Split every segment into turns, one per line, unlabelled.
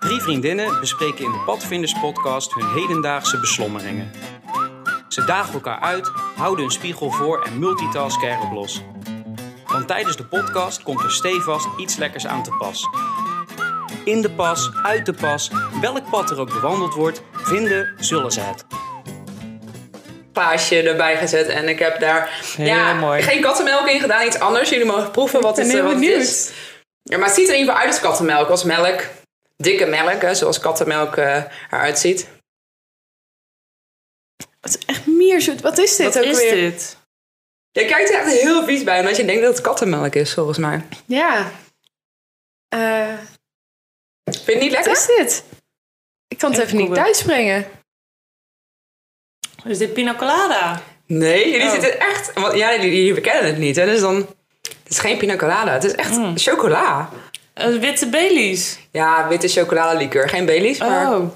Drie vriendinnen bespreken in de Padvinders podcast hun hedendaagse beslommeringen. Ze dagen elkaar uit, houden hun spiegel voor en multitasken erop los. Want tijdens de podcast komt er stevast iets lekkers aan te pas. In de pas, uit de pas, welk pad er ook bewandeld wordt, vinden zullen ze het.
paasje erbij gezet. En ik heb daar
Heel
ja,
mooi.
geen kattenmelk in gedaan, iets anders. Jullie mogen proeven wat,
ben
het, eh,
heel
wat het
benieuwd.
is. Ja, maar het ziet er in ieder geval uit als kattenmelk, als melk. Dikke melk, hè, zoals kattenmelk eh, eruit ziet.
Het is echt mierzoet. Wat is dit
Wat
ook
is
weer?
dit? Je kijkt er echt heel vies bij, omdat je denkt dat het kattenmelk is, volgens mij.
Ja. Eh,
Vind je het niet
wat
lekker?
is dit? Ik kan het
Even
even, niet
googlen.
thuis brengen.
Is dit pina colada?
Nee, jullie
Oh.
zitten echt... Want, ja, jullie, jullie kennen het niet, hè. Dus dan... Het is geen pina colada, het is echt
Mm.
chocola.
Eh, witte Baileys.
Ja, witte chocoladeliqueur. Geen Baileys, maar...
Oh.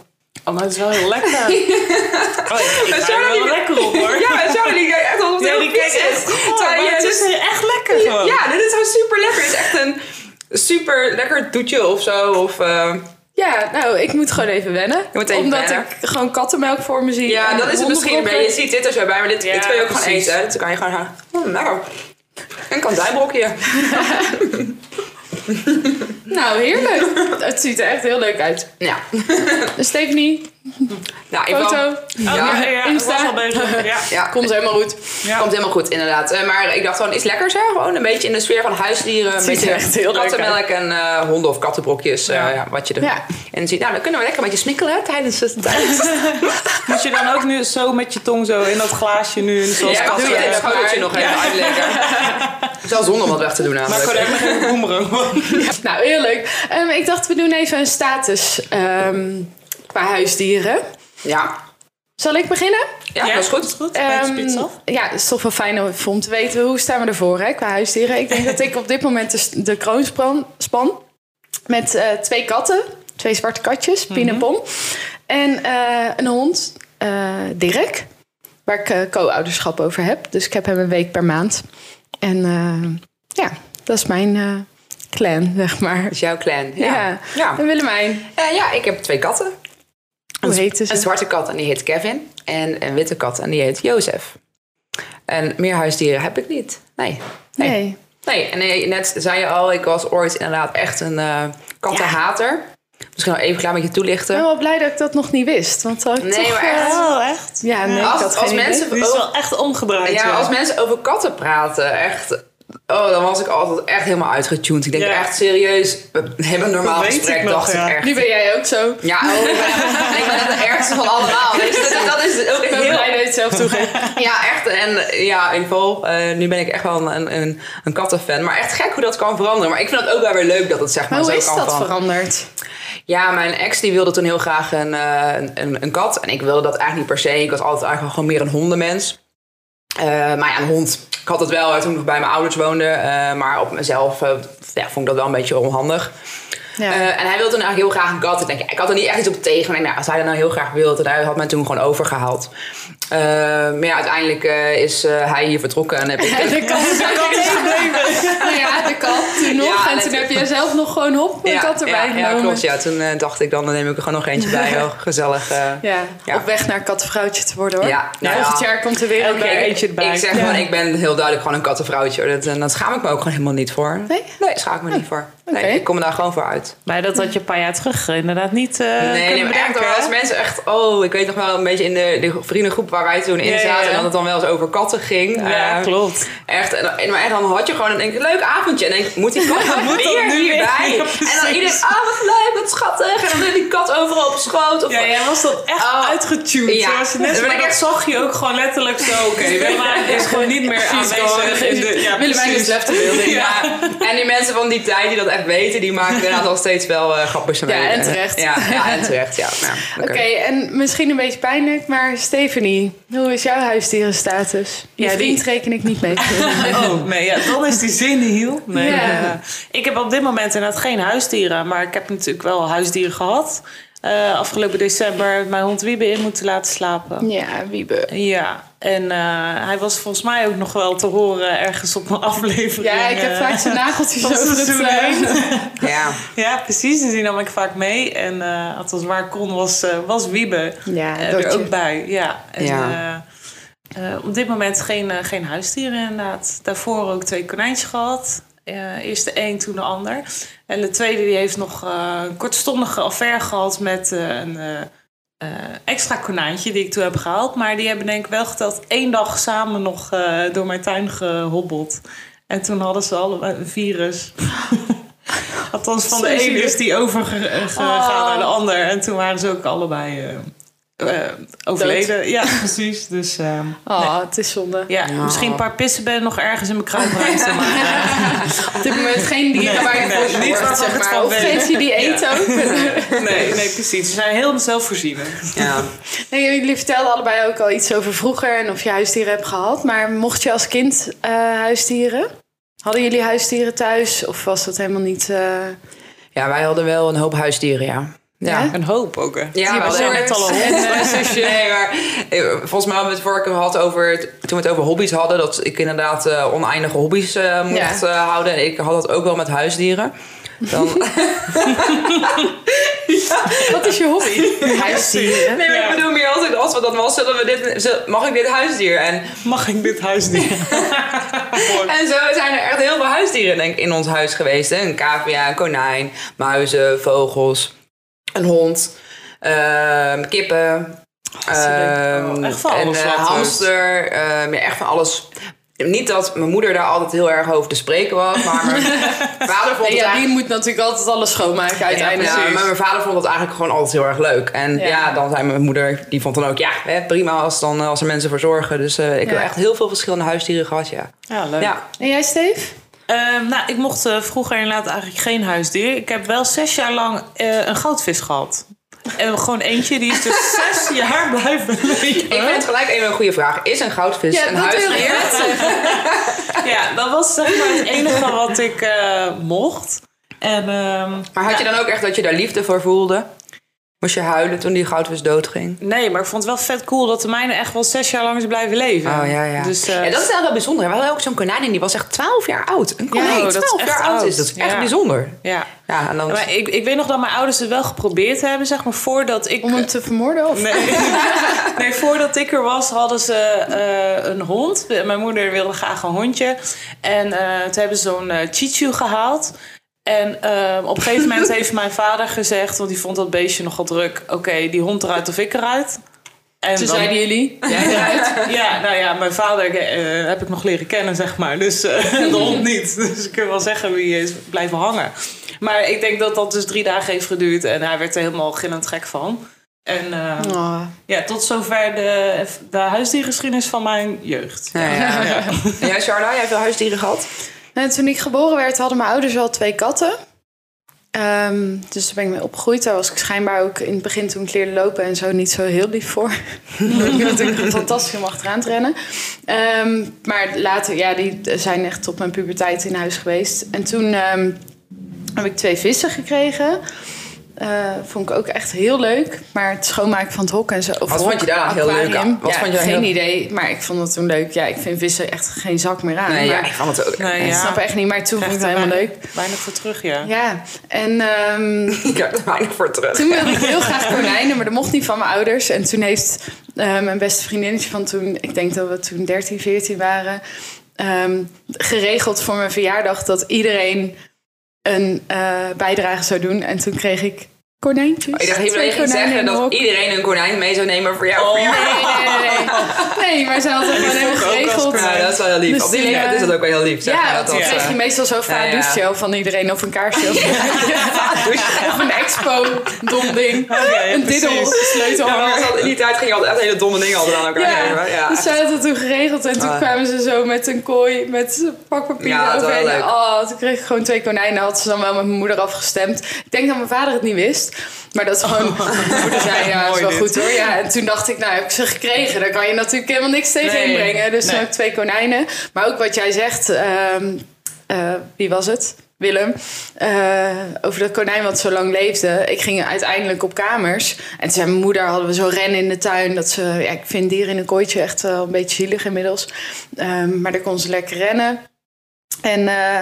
Oh, maar het is wel heel lekker. oh, ik ik
Het
ruik
zou
er
niet-
wel lekker op hoor.
Ja, en Charlie die kijkt echt alsof het
Nee,
heel
die
vies
kijkt
is.
echt goor,
Terwijl
maar
je
het is
dus-
echt lekker gewoon. Oh,
Ja, dit is gewoon super lekker. Dit is echt een super lekker toetje of zo. Of, eh,
Ja, nou, ik moet gewoon even wennen.
moet even
omdat
wennen.
ik gewoon kattenmelk voor me zie.
ja,
en
dat is het misschien.
hondenbrokken.
Maar je ziet dit er zo bij, maar dit,
Ja,
dit kun je ook gewoon
precies.
eten. Dus dan kan je gewoon gaan. "Hmm, nou, een kandijbrokje.
Nou, heerlijk. het ziet er echt heel leuk uit.
Ja,
Stefanie,
nou, ik
foto.
Oh,
Ja,
ja, ja, ik was
Insta.
al bezig. Ja.
Ja,
Komt helemaal goed.
Ja.
komt helemaal goed, inderdaad. Eh, maar ik dacht gewoon iets lekkers, hè? Gewoon een beetje in de sfeer van huisdieren. Een
ziet er
beetje
echt heel leuk uit.
kattenmelk en eh, honden of kattenbrokjes. eh, ja.
Ja.
wat je er.
Ja.
En ziet, nou, dan kunnen we lekker een beetje smikkelen hè, tijdens het. Tijdens het
Moet je dan ook nu zo met je tong zo in dat glaasje nu? en Zoals
ja, ik had
katten
het in het
hebben?
schoteltje nog even uitleggen. Zelfs zonder om wat weg te doen
Maar
namelijk.
gewoon even geen boemerang.
Nou, heel leuk. Ehm, ik dacht, we doen even een status ehm, qua huisdieren.
Ja.
Zal ik beginnen?
Ja, dat is goed.
goed. Bij de
Ehm,
spits af.
ja, het is toch wel fijn om- om te weten hoe staan we ervoor hè, qua huisdieren. Ik denk dat ik op dit moment de, s- de kroonspan span met eh, twee katten, twee zwarte
Mhm.
katjes, Pien en Pom. En eh, een hond, eh, Dirk, waar ik eh, co-ouderschap over heb. Dus ik heb hem een week per maand. En eh, ja, dat is mijn eh, clan, zeg maar.
Dat is jouw clan. Ja.
Ja.
Ja. Ja.
En Willemijn,
Eh, ja, ik heb twee katten.
hoe heet
Een
ze?
zwarte kat en die heet Kevin. En een witte kat en die heet Jozef. En meer huisdieren heb ik niet. Nee. Nee. Nee.
Nee.
En nee, net zei je al, ik was ooit inderdaad echt een eh, kattenhater. Misschien wel even klaar met je
Ik
toelichten.
ben wel blij dat ik dat nog niet wist. Want dan had ik
Nee, maar
toch, eh,
echt.
Oh, echt?
Ja, nee, ik
Als-
had
als
geen idee.
mensen
Die is wel echt omgedraaid.
Ja, als mensen over katten praten, echt. Oh, dan was ik altijd echt helemaal uitgetuned. Ik denk
Ja.
echt serieus, we hebben een normaal
Dat weet
gesprek,
ik nog,
dacht
ja.
ik echt.
Nu ben jij ook zo.
Ja, oh, ik ben- ik ben net de ergste van allemaal. Dus dat, dat is ook
Ik ben blij
heel...
dat je het zelf toegeeft.
Ja, echt. En eh, ja, in ieder geval, eh, nu ben ik echt wel een, een, een kattenfan. Maar echt gek hoe dat kan veranderen. Maar ik vind het ook wel weer leuk dat het zeg maar,
Maar hoe
zo
is
kan
dat
veranderen.
veranderd?
Ja, mijn ex die wilde toen heel graag een, eh, een- een, een kat. En ik wilde dat eigenlijk niet per se. Ik was altijd eigenlijk gewoon meer een hondenmens. Eh, maar ja, een hond. Ik had het wel hè, toen ik nog bij mijn ouders woonde. eh, maar op mezelf eh, ja, vond ik dat wel een beetje onhandig.
Ja.
Eh, en hij wilde toen eigenlijk heel graag een kat. Ik, denk, ja, ik had er niet echt iets op tegen. Maar ik denk, nou, als hij dat nou heel graag wilde, dan had men toen gewoon overgehaald. Eh, maar ja, uiteindelijk eh, is eh, hij hier vertrokken. En heb ik eh,
de kat, ja, de kat toen nog.
Ja,
en toen
net-
heb jij zelf nog gewoon hop een kat erbij
ja, ja,
genomen.
klopt. Ja, toen eh, dacht ik, dan neem ik er gewoon nog eentje bij. Heel gezellig. eh,
Ja,
Ja.
op weg naar kattenvrouwtje te worden hoor.
Ja, nou
Volgend
ja.
jaar komt er weer een
Elke
bij.
keer eentje erbij.
Ik zeg
Ja.
gewoon, ik ben heel duidelijk gewoon een kattenvrouwtje. hoor. Dat, en dat schaam ik me ook gewoon helemaal niet voor.
Nee?
Nee, schaam ik me
Oh,
niet voor. Nee,
oké.
ik kom er daar gewoon voor uit.
Maar dat had je een paar jaar terug eh, inderdaad niet eh
nee, nee,
kunnen
maar echt
bedenken,
hoor.
hè?
Als mensen echt, oh, ik weet nog wel een beetje in de, de vriendengroep waar wij toen in
Ja, ja,
zaten.
ja.
En dat het dan wel eens over katten ging.
Ja,
Eh,
klopt.
Echt, en, en- maar echt, dan had je gewoon een, een leuk avondje. En denk, moet die kat
Moet dat
weer
nu weer?
hierbij?
Ja,
en dan
precies.
iedereen, ah, wat leuk, wat schattig. En dan die kat overal op schoot. Of,
Ja, jij was dat echt
Oh.
uitgetuned.
Ja.
Ja. Was het net,
Dan ben
maar
ik
dat
echt-
zag je ook gewoon letterlijk zo. Oké, Willemijn is gewoon niet meer aanwezig. in de- ja,
Willemijn is
precies.
left building. Ja.
Ja. En die mensen van die tijd die dat echt weten, die maken inderdaad nog steeds wel eh grapjes ermee.
Ja, en terecht.
Ja, ja, en terecht, ja. Nou,
Oké, en misschien een beetje pijnlijk, maar Stephanie, hoe is jouw huisdierenstatus? Je
Ja, die-
vriend reken ik niet mee.
Oh, nee, ja, dan is die zin heel. Nee,
Ja.
eh, ik heb op dit moment inderdaad geen huisdieren, maar ik heb natuurlijk wel huisdieren gehad. Eh,
eh, afgelopen december mijn hond Wiebe in moeten laten slapen.
Ja, Wiebe.
Ja, en eh, hij was volgens mij ook nog wel te horen ergens op een aflevering.
Ja, ik heb
eh,
vaak zijn nageltjes
van
over het...
seizoen
eh,
heen.
Ja.
Ja, precies. Dus die nam ik vaak mee. En eh, althans, waar ik kon was, eh, was Wiebe
Ja,
eh, er
Dotje.
ook bij. Ja. En,
Ja.
eh, eh, op dit moment geen, eh, geen huisdieren inderdaad. Daarvoor ook twee konijntjes gehad. Eh, eerst de een, toen de ander. En de tweede die heeft nog eh, een kortstondige affaire gehad met eh, een eh, eh, extra konijntje die ik toen heb gehaald. Maar die hebben denk ik wel geteld één dag samen nog eh, door mijn tuin gehobbeld. En toen hadden ze allemaal een virus. Althans, van de
Sorry.
ene is die overgegaan
Oh.
naar de ander. En toen waren ze ook allebei eh, eh, overleden. Ja, precies. Dus ehm,
Oh, het is zonde.
ja, misschien een paar pissenbedden nog ergens in mijn kruipruimte. maar eh,
Op dit moment geen dieren
Nee,
waar je
nee,
voor
niet
zorgt,
waarvan
zeg
ik het
maar.
van
Of
weet.
geef je die eten ook?
nee, nee, precies. Ze zijn heel zelfvoorzienend.
ja.
Nee, jullie vertelden allebei ook al iets over vroeger en of je huisdieren hebt gehad. Maar mocht je als kind eh, huisdieren? Hadden jullie huisdieren thuis of was dat helemaal niet... eh,
ja, wij hadden wel een hoop huisdieren, ja. Ja,
Ja?
Een hoop ook, hè?
Ja, we
we
hadden
zijn net al een
en, eh, zusje. Nee, maar eh, volgens mij hadden we het vorige keer gehad over... het- toen we het over hobby's hadden... dat ik inderdaad eh, oneindige hobby's eh, mocht
Ja.
eh, houden. En ik had dat ook wel met huisdieren. Dan,
Wat is je hobby? huisdieren.
nee, maar
Ja.
ik bedoel meer altijd... als we dat was, zullen we dit, zul- mag ik dit huisdier? En,
Mag ik dit huisdier?
en zo zijn er echt heel veel huisdieren denk ik, in ons huis geweest. Hè? Een cavia, een konijn, muizen, vogels, een hond, ehm, kippen...
leuk.
ehm,
Oh, echt van
en,
alles
eh,
wat, dus.
hamster, ehm, ja, echt van alles. Niet dat mijn moeder daar altijd heel erg over te spreken was, maar mijn vader vond het
Ja, die
eigenlijk...
moet natuurlijk altijd alles schoonmaken uiteindelijk.
Ja, maar mijn vader vond dat eigenlijk gewoon altijd heel erg leuk. En
Ja.
ja, dan zei mijn moeder, die vond dan ook, ja, hè, prima als, dan, eh, als er mensen voor zorgen. Dus eh, ik
Ja.
heb echt heel veel verschillende huisdieren gehad, ja.
Ja, leuk.
Ja,
En jij, Steve?
Ehm, nou, ik mocht eh, vroeger inderdaad eigenlijk geen huisdier. Ik heb wel zes jaar lang eh, een goudvis gehad. En gewoon eentje, die is dus zes jaar blijven leven.
ik vind het gelijk even een goede vraag. Is een goudvis
Dus
Ja,
een
dat wil ik
huisdier?
net
Ja, dat was zeg maar het enige wat ik eh, mocht. En ehm,
Maar had je dan ook echt dat je daar liefde voor voelde? Moest je huilen toen die goudvis doodging?
nee, maar ik vond het wel vet cool dat de mijne echt wel zes jaar lang is blijven leven.
Oh ja, ja.
Dus, eh,
ja dat is wel heel bijzonder. We hadden ook zo'n konijn en die was echt 12 jaar oud. Een konijn,
oh, dat is
12
echt
jaar oud is.
oud.
Dat is echt
Ja.
bijzonder.
ja.
Ja, en dan...
Maar ik, ik weet nog dat mijn ouders het wel geprobeerd hebben, zeg maar, voordat ik...
Om hem te vermoorden? Of?
Nee. nee, voordat ik er was hadden ze eh, een hond. Mijn moeder wilde graag een hondje. En eh, toen hebben ze zo'n eh Chichu gehaald. En eh, op een gegeven moment heeft mijn vader gezegd, want die vond dat beestje nogal druk. Oké, die hond eruit of ik eruit. En
Toen
dan-
zeiden jullie.
ja, nou ja, mijn vader eh, heb ik nog leren kennen, zeg maar. Dus eh, de hond niet. Dus ik kan wel zeggen wie is blijven hangen. Maar ik denk dat dat dus drie dagen heeft geduurd. En hij werd er helemaal gillend gek van. En eh,
Oh.
ja, tot zover de, de huisdiergeschiedenis van mijn jeugd.
Ja, ja. En jij, Charla, jij hebt veel huisdieren gehad?
Nou, toen ik geboren werd, hadden mijn ouders al twee katten. Ehm, dus daar ben ik mee opgegroeid. Daar was ik schijnbaar ook in het begin toen ik leerde lopen en zo niet zo heel lief voor. ik ben natuurlijk fantastisch om achteraan te rennen. Ehm, maar later, ja, die zijn echt tot mijn puberteit in huis geweest. En toen ehm, heb ik twee vissen gekregen. Eh, vond ik ook echt heel leuk. Maar het schoonmaken van het hok en zo. of
Wat
het
vond je
hok,
daar heel leuk aan?
aquarium.
Wat
Ja,
vond je daar
geen
heel-
idee, maar ik vond het toen leuk. Ja, ik vind vissen echt geen zak meer aan.
Nee,
maar...
ja, ik vond het ook.
Nee,
Ik
Eh, ja.
snap echt niet, maar toen vond ik het helemaal leuk.
Weinig voor terug, ja.
Ja, en ehm,
Ik heb er weinig voor terug.
toen wilde ik heel graag konijnen, maar dat mocht niet van mijn ouders. En toen heeft eh, mijn beste vriendinnetje van toen, ik denk dat we toen 13, 14 waren, ehm, geregeld voor mijn verjaardag dat iedereen een eh, bijdrage zou doen. En toen kreeg ik konijntjes.
Ik dacht, Oh, je wil
Twee
even
konijnen in
zeggen
een
dat
hok.
iedereen een konijn mee zou nemen voor jou. Voor jou.
Nee, nee, nee, nee. Nee, maar ze hadden het gewoon helemaal geregeld.
Ja, dat is wel heel lief.
Dus
Op die
die,
leeftijd
eh,
is dat ook wel heel lief. Zeg
Ja,
maar, dat
want dan
dat,
kreeg je
eh,
meestal zo'n
ja.
vaardoesje van iedereen of een kaarsje. of- of een expo, dom ding.
ja,
een diddel,
Ja,
precies.
maar
sleutelhanger.
dat had- in die tijd ging je altijd echt hele domme dingen altijd aan elkaar
Ja,
geven. Ja, eh,
dus zij had dat toen geregeld en toen
Ah.
kwamen ze zo met een kooi met pakpapier
Ja, dat is wel
overheen.
leuk.
Oh, toen kreeg ik gewoon twee konijnen, had ze dan wel met mijn moeder afgestemd. Ik denk dat mijn vader het niet wist, maar dat is gewoon, mijn moeder zei ja, is
Oh. Mooi
wel
dit.
goed hoor. Ja, en toen dacht ik, nou heb ik ze gekregen, daar kan je natuurlijk helemaal niks tegen
Nee,
inbrengen. Dus toen
nee.
heb ik twee konijnen, maar ook wat jij zegt, ehm, eh, wie was het? Willem, eh, over dat konijn wat zo lang leefde. Ik ging uiteindelijk op kamers. En toen zei mijn moeder, hadden we zo'n rennen in de tuin. Dat ze, ja, ik vind dieren in een kooitje echt wel een beetje zielig inmiddels. Ehm, maar daar kon ze lekker rennen. En eh,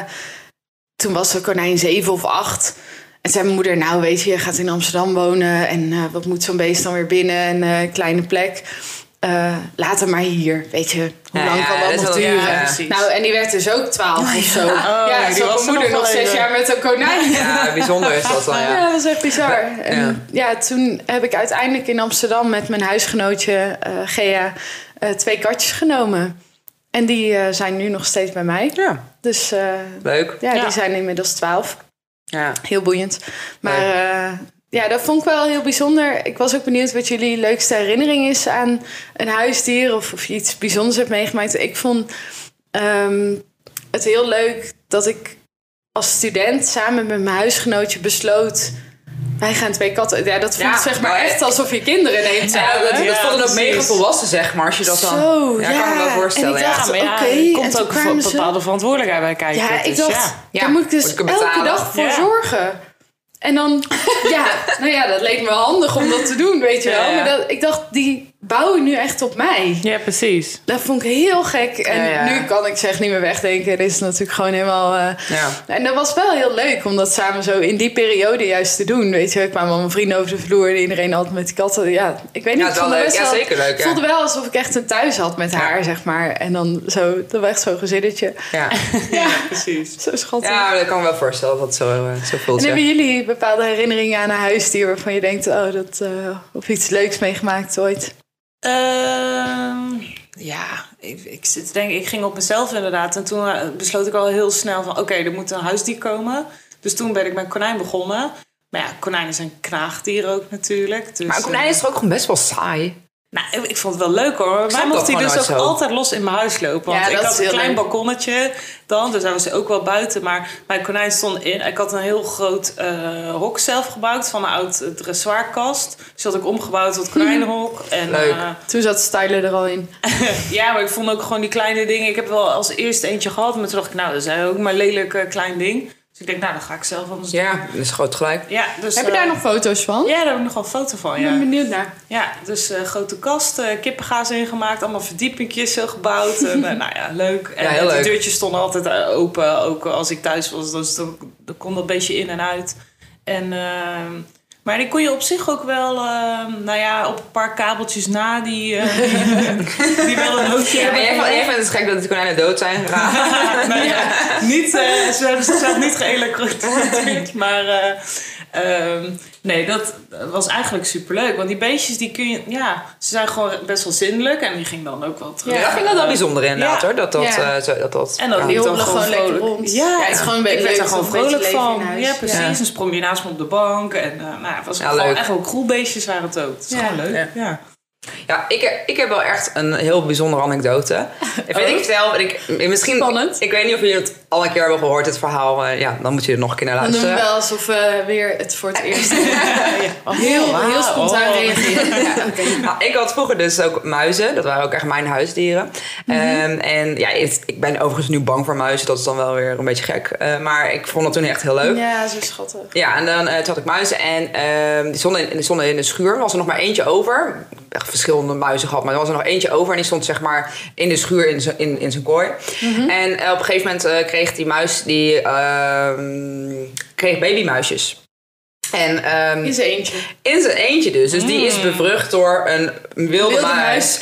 toen was de konijn zeven of acht. En zei mijn moeder, nou weet je, je gaat in Amsterdam wonen. En eh, wat moet zo'n beest dan weer binnen? En eh, een kleine plek. Eh, laat hem maar hier, weet je. Hoe
Ja,
lang
ja,
kan
dat
dat
is
nog
wel-
duren?
ja,
precies.
nou, en die werd dus ook twaalf of zo. ja,
die
ik zat
was er
mijn moeder
nog
nog
wel
zes
even.
jaar met een konijn.
Ja, bijzonder is dat dan,
Ja,
ja.
dat was echt bizar. En, ja. toen heb ik uiteindelijk in Amsterdam met mijn huisgenootje eh, Gea eh, twee katjes genomen. En die eh, zijn nu nog steeds bij mij.
Ja,
Dus eh,
leuk.
ja,
Ja.
die zijn inmiddels twaalf.
Ja.
Heel boeiend. Maar eh, ja, dat vond ik wel heel bijzonder. Ik was ook benieuwd wat jullie leukste herinnering is aan een huisdier. Of of je iets bijzonders hebt meegemaakt. Ik vond ehm, het heel leuk dat ik als student samen met mijn huisgenootje besloot... Wij gaan twee katten. Ja, dat voelt
Ja,
zeg maar
maar-
echt alsof je kinderen neemt.
Ja, dat, dat
Ja,
vond ik ook mega
precies.
volwassen, zeg maar, als je dat dan...
Zo,
ja, kan me wel
ja.
voorstellen,
En ik
ja.
dacht-
maar ja,
Oké,
er
en
komt
toen
ook
kwamen
een
ze-
bepaalde verantwoordelijkheid bij kijken.
Ja,
dus
ik dacht,
ja.
Ja,
daar moet ik dus
moet ik hem
elke
betalen.
dag voor
Ja.
zorgen. En dan, ja, nou ja, dat leek me wel handig om dat te doen, weet je wel.
Ja, ja.
Maar dat, ik dacht, die bouwen nu echt op mij.
Ja, precies.
Dat vond ik heel gek. En
Ja, ja.
nu kan ik ze echt niet meer wegdenken. Er is natuurlijk gewoon helemaal... eh,
Ja.
En dat was wel heel leuk om dat samen zo in die periode juist te doen. Weet je, ik kwam al mijn vrienden over de vloer. en Iedereen altijd met die katten. Ja, ik weet niet.
Ja,
ik
het wel
vond het
leuk.
best
Ja,
wel-
zeker leuk,
Ik
ja.
voelde wel alsof ik echt een thuis had met haar, zeg maar. En dan zo, dat was echt zo'n gezinnetje.
Ja.
Ja,
Precies.
zo schattig.
ja, maar dat kan me wel voorstellen dat het zo, eh, zo voelt,
En
ja.
hebben jullie bepaalde herinneringen aan een huisdier waarvan je denkt, oh, dat eh, of iets leuks meegemaakt ooit?
Ehm, ja, ik, ik, zit te denken, ik ging op mezelf inderdaad. En toen eh, besloot ik al heel snel van... oké, er moet een huisdier komen. Dus toen ben ik met konijn begonnen. Maar ja, konijnen zijn knaagdieren ook natuurlijk. Dus,
Maar een konijn is toch ook gewoon best wel saai?
eh, nou, ik vond het wel leuk hoor. Maar
snap
mocht
dat
hij dus
gewoon
ook
nooit zo.
altijd los in mijn huis lopen. Want
Ja,
ik
dat
had
is
een
heel
klein
leuk.
balkonnetje dan. Dus daar was hij ook wel buiten. Maar mijn konijn stond in. Ik had een heel groot eh, hok zelf gebouwd. Van een oud eh, dressoirkast. Dus dat had ik omgebouwd tot konijnenhok. En,
Leuk.
eh,
Toen zat Styler er al in.
ja, maar ik vond ook gewoon die kleine dingen. Ik heb wel als eerst eentje gehad, maar toen dacht ik, nou, dat is ook maar een lelijk eh, klein ding. Dus ik denk, nou, dan ga ik zelf anders doen.
Ja, dat is groot gelijk.
Ja, dus,
Heb je
eh,
daar nog Mm. foto's van?
Ja, daar heb ik nog wel een foto van,
Ik ben
ja.
benieuwd naar.
Ja, dus eh, grote kast, eh, kippengaas ingemaakt, allemaal verdiepingjes zo gebouwd. en, eh, nou ja, leuk. En
Ja, heel
eh, die
leuk.
deurtjes stonden altijd eh, open, ook als ik thuis was. Dus dan, dan kon dat beetje in en uit. En, ehm, maar die kon je op zich ook wel, ehm, nou ja, op een paar kabeltjes na die, eh, die, die wel een hoofdje
Ja,
hebben.
maar jij, vindt- jij vindt het gek dat de konijnen dood zijn gegaan.
Nou ja, niet, eh, ze hebben zichzelf niet geëlektrocuteerd. Maar eh, ehm, nee, dat was eigenlijk superleuk. Want die beestjes, die kun je, ja, ze zijn gewoon best wel zindelijk. En die ging dan ook wel terug.
Ja, dat vind ik dat wel bijzonder inderdaad,
Ja.
hoor. Dat dat,
Ja.
eh, zo, dat, dat
En dat
ja.
liep
Die
dan
hobbelen
gewoon,
gewoon lekker
vrolijk.
rond.
Ja,
Ja, het is gewoon een beetje
ik werd
leuk,
er gewoon
zo'n beetje
vrolijk
leven
van.
in huis.
Ja, precies.
Ja.
Dan sprong je naast me op de bank. En eh, nou, het was
Ja,
gewoon
leuk.
echt wel cool beestjes waren het ook. Het is
Ja.
gewoon leuk. Ja.
Ja, ik, ik heb wel echt een heel bijzondere anekdote. Ik weet ik vertel, en ik, misschien,
Spannend.
ik weet niet of jullie het al een keer hebben gehoord, het verhaal. eh, ja, dan moet je er nog een keer naar
Dan doen we
eh,
luisteren.
wel alsof we weer het voor het eerst heel, heel spontaan
Oh.
reageren. Ja,
Nou, ik had vroeger dus ook muizen. Dat waren ook echt mijn huisdieren. Ehm, en ja, het- ik ben overigens nu bang voor muizen. Dat is dan wel weer een beetje gek. Eh, maar ik vond dat toen echt heel leuk.
ja zo schattig.
Ja, en dan eh, toen had ik muizen en ehm, die, stonden in, die stonden in de schuur. Er was er nog maar eentje over. Echt verschillende muizen gehad, maar er was er nog eentje over. En die stond zeg maar in de schuur in zijn in, in zijn kooi. En eh, op een gegeven moment eh, kreeg die muis die, ehm, kreeg babymuisjes. En ehm,
In zijn eentje.
in zijn eentje dus. Dus die is bevrucht door een wilde,
Mm. Wilde
muis.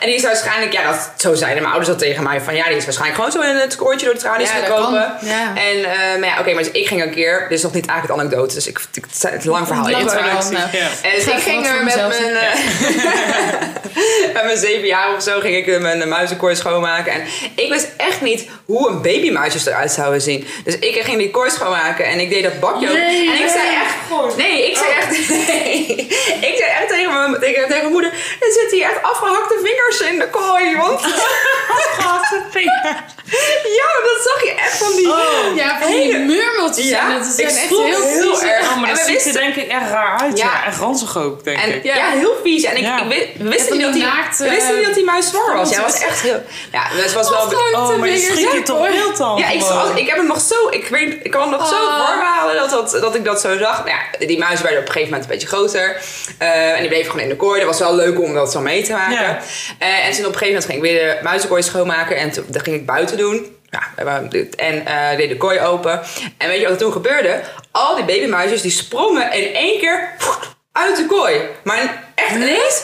En die is waarschijnlijk, ja, dat, zo zeiden mijn ouders dat tegen mij. Van ja, die is waarschijnlijk gewoon zo in het koortje door de tralies
Ja, dat
gekomen.
kan. Ja.
En eh, maar ja, oké, maar dus ik ging een keer. Dit is nog niet eigenlijk het anekdote, dus ik, ik- het is een lang verhaal.
Lang
Ik-
verhaal, nou.
Ja.
en dus
Ga
ik
even
ging
wat
er
voor
met
mezelf
mijn, eh, met mijn zeven jaar of zo ging ik eh, mijn eh, muizenkooi schoonmaken. En ik wist echt niet hoe een babymuisjes eruit zouden zien. Dus ik ging die kooi schoonmaken en ik deed dat bakje ook.
Nee,
en ik zei
nee.
echt... Nee, ik zei
Oh.
echt... Nee. Ik zei echt tegen mijn, tegen, tegen mijn moeder... Er zitten hier echt afgehakte vingers in de kooi, want...
Gasten,
Ja, maar dat zag je echt van die...
Ja, van die murmeltjes.
Ja,
en dat zijn
ik
echt
schrok
heel,
heel
vieze-
erg.
Oh, maar
En
dat
we
ziet
wisten-
er denk ik echt raar uit. Ja,
Ja.
en ranzig ook, denk
En,
ik.
ja.
Ja.
heel vies. En ik,
Ja.
ik wist- we,
van
wisten niet dat
die
die,
naakt,
we wisten
eh,
niet dat die muis zwaar was. Ja, hij was
grond.
echt heel... Ja, het was wel...
Oh, maar je schiet je toch heel dan?
Ja, ik, zag- ik heb hem nog zo... Ik, weet, ik kan hem nog zo
Oh.
voorhalen dat, dat, dat ik dat zo zag. Nou ja, die muizen werden op een gegeven moment een beetje groter. Eh, en die bleven gewoon in de kooi. Dat was wel leuk om dat zo mee te maken.
Ja.
Eh, en toen op een gegeven moment ging ik weer de muizenkooi schoonmaken. En toen, dat ging ik buiten doen. Ja, we waren- en eh deed de kooi open. En weet je wat er toen gebeurde? Al die babymuisjes die sprongen in één keer uit de kooi. Maar echt ineens...